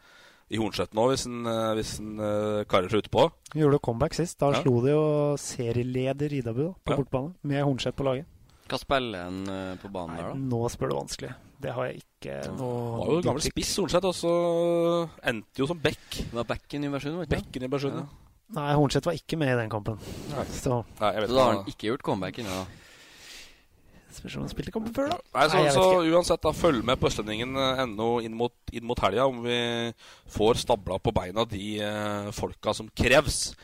C: i Hornseth nå, hvis en, eh, hvis en eh, karer seg utpå.
E: Gjorde comeback sist. Da
C: Ja.
E: slo de jo serieleder Ridabu da, på
C: Ja.
E: bortbane, med Hornseth på laget.
D: Hva spiller en eh, på banen der, da?
E: Nå spør du vanskelig. Det har jeg ikke noe
C: Var jo gamle spiss Hornseth, og så endte jo som back.
D: Det var bekken i Bersund, var det ikke?
C: Bekken i Bersund, ja.
E: Nei, Hornseth var ikke med i den kampen.
C: Nei.
E: Så
C: Nei, jeg vet
D: Så
C: ikke.
D: da har
C: om
D: han
C: det-
D: ikke gjort comeback ennå, da.
E: spørs om han spilte kampen før, da.
C: Nei, så,
E: Nei, jeg vet
C: så uansett, da, følg med på østlendingen.no inn mot, inn mot helga om vi får stabla på beina de eh, folka som kreves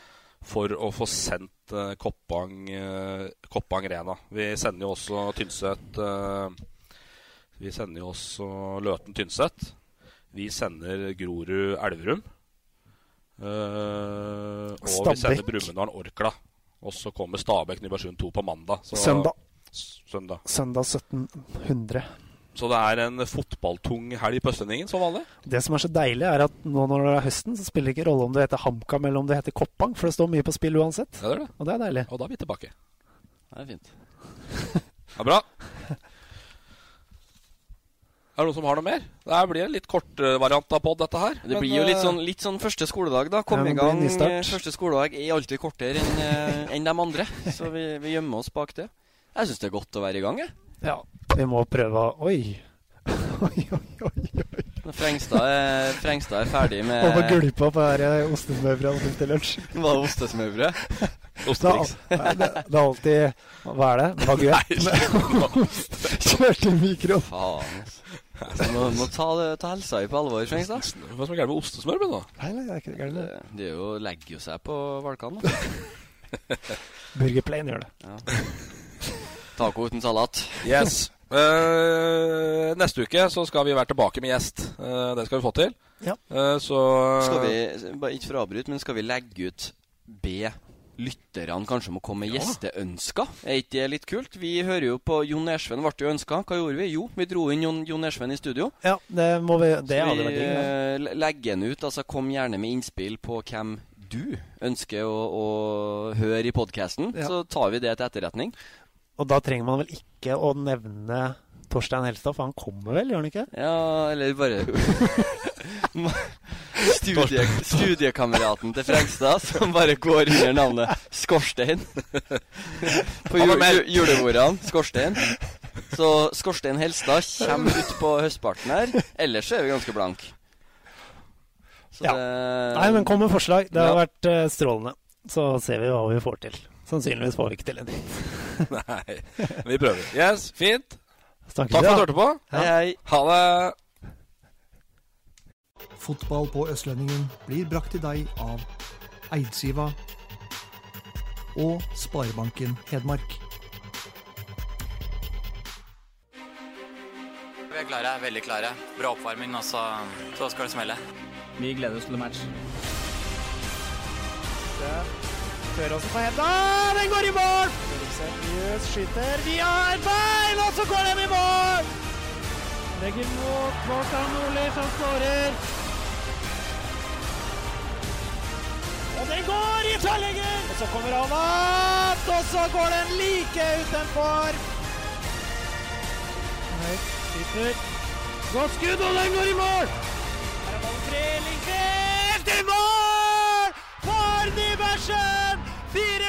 C: for å få sendt eh, Koppang, eh, Koppang Rena. Vi sender jo også Tynset eh, Vi sender jo også Løten Tynset. Vi sender Grorud Elverum. Eh, og vi sender
E: Stabæk.
C: Brumunddal Orkla. Og så kommer Stabæk Nybergsund 2 på mandag. Så,
E: Søndag.
C: S- Søndag.
E: Søndag 1700.
C: Så det er en fotballtung helg på Østlendingen, som vanlig.
E: Det som er så deilig, er at nå når det er høsten, så spiller det ikke rolle om det heter HamKam eller om det heter Koppang, for det står mye på spill uansett.
C: Ja, det er det.
E: Og det er deilig.
C: Og da er vi tilbake.
D: Det er fint.
C: Det er bra. Er det noen som har noe mer? Det her blir en litt kort eh, variant av pod, dette her.
D: Det
C: Men,
D: blir jo
C: eh,
D: litt sånn, litt sånn første skoledag, da.
E: Ja,
D: Komme
E: det
D: i
E: blir
D: gang.
E: nystart.
D: eh, Første skoledag er alltid kortere enn eh, enn de andre, så vi, vi gjemmer oss bak det. Jeg syns det er godt å være i gang, jeg.
E: Ja. Vi må prøve å Oi! Oi, oi, oi.
D: Når Frengstad er, Frengstad er ferdig med
E: Og på gulpa på her eh, ostesmørbrød han spiste lunsj.
D: Var det ostesmørbrød?
E: Det er,
C: Ostetriks.
E: al- det, det er alltid Hva er det? Baguett? Kjørte mikroen.
D: Faen, altså. Du må, må ta, det- ta helsa di på alvor, Frengstad.
C: Hva som er gærent med ostesmør? Men, da?
E: Nei, nei, det er ikke det gærent. det.
D: Det er jo, legger jo seg på valkene. da.
E: Burger Plain gjør det.
D: Taco uten salat.
C: Yes. Eh, neste uke så skal vi være tilbake med gjest. Eh, det skal vi få til.
E: Ja.
C: Eh, så
D: Skal
E: Eh,
D: vi, bare ikke for å avbryte, men skal vi legge ut Be lytterne kanskje om å komme med gjesteønsker? Er ikke det litt kult? Vi hører jo på Jon Ersven ble jo ønska. Hva gjorde vi? Jo, vi dro inn Jon, Jon Ersven i studio.
E: Ja, det må vi Det
D: Så
E: hadde
D: vi
E: vært digg. det.
D: eh, le- legger den ut. Altså, kom gjerne med innspill på hvem du ønsker å, å høre i podkasten.
E: Ja.
D: Så tar vi det til etterretning.
G: Og da trenger man vel ikke å nevne Torstein Helstad, for han kommer vel, gjør han ikke?
D: Ja, eller bare Studie, studiekameraten til Frengstad som bare går under navnet Skorstein. På
C: Han var
D: ju-
C: med.
D: ju- julebordene. Skorstein. Så Skorstein Helstad kommer ut på høstparten her. Ellers så er vi ganske blank. Så
G: Ja.
D: det
G: Nei, men kom med forslag. Det har
D: Ja.
G: vært eh, strålende. Så ser vi hva vi får til. Sannsynligvis får vi ikke til en dritt.
C: Nei, vi prøver. Yes, fint.
G: Snakkes
C: Takk for
G: da.
C: at du hørte på.
G: Hei,
C: Ha det.
H: Fotball på Østlendingen blir brakt til deg av Eidsiva og Sparebanken Hedmark.
I: Vi er klare, veldig klare. Bra oppvarming, og så, så skal det smelle.
J: Vi gleder oss til match.
E: Tør også på henda. Den går i mål! Seriøs skyter. Vi har bein, og så går den i mål! Legger mot Kvartan Nordli, som skårer. Og den går i tverrlegger! Og så kommer han opp, og så går den like utenfor. Høyt, skyter. Godt skudd, og den går i mål! Her er ballen tre, Lindgren til mål! For Nybergsen! Fire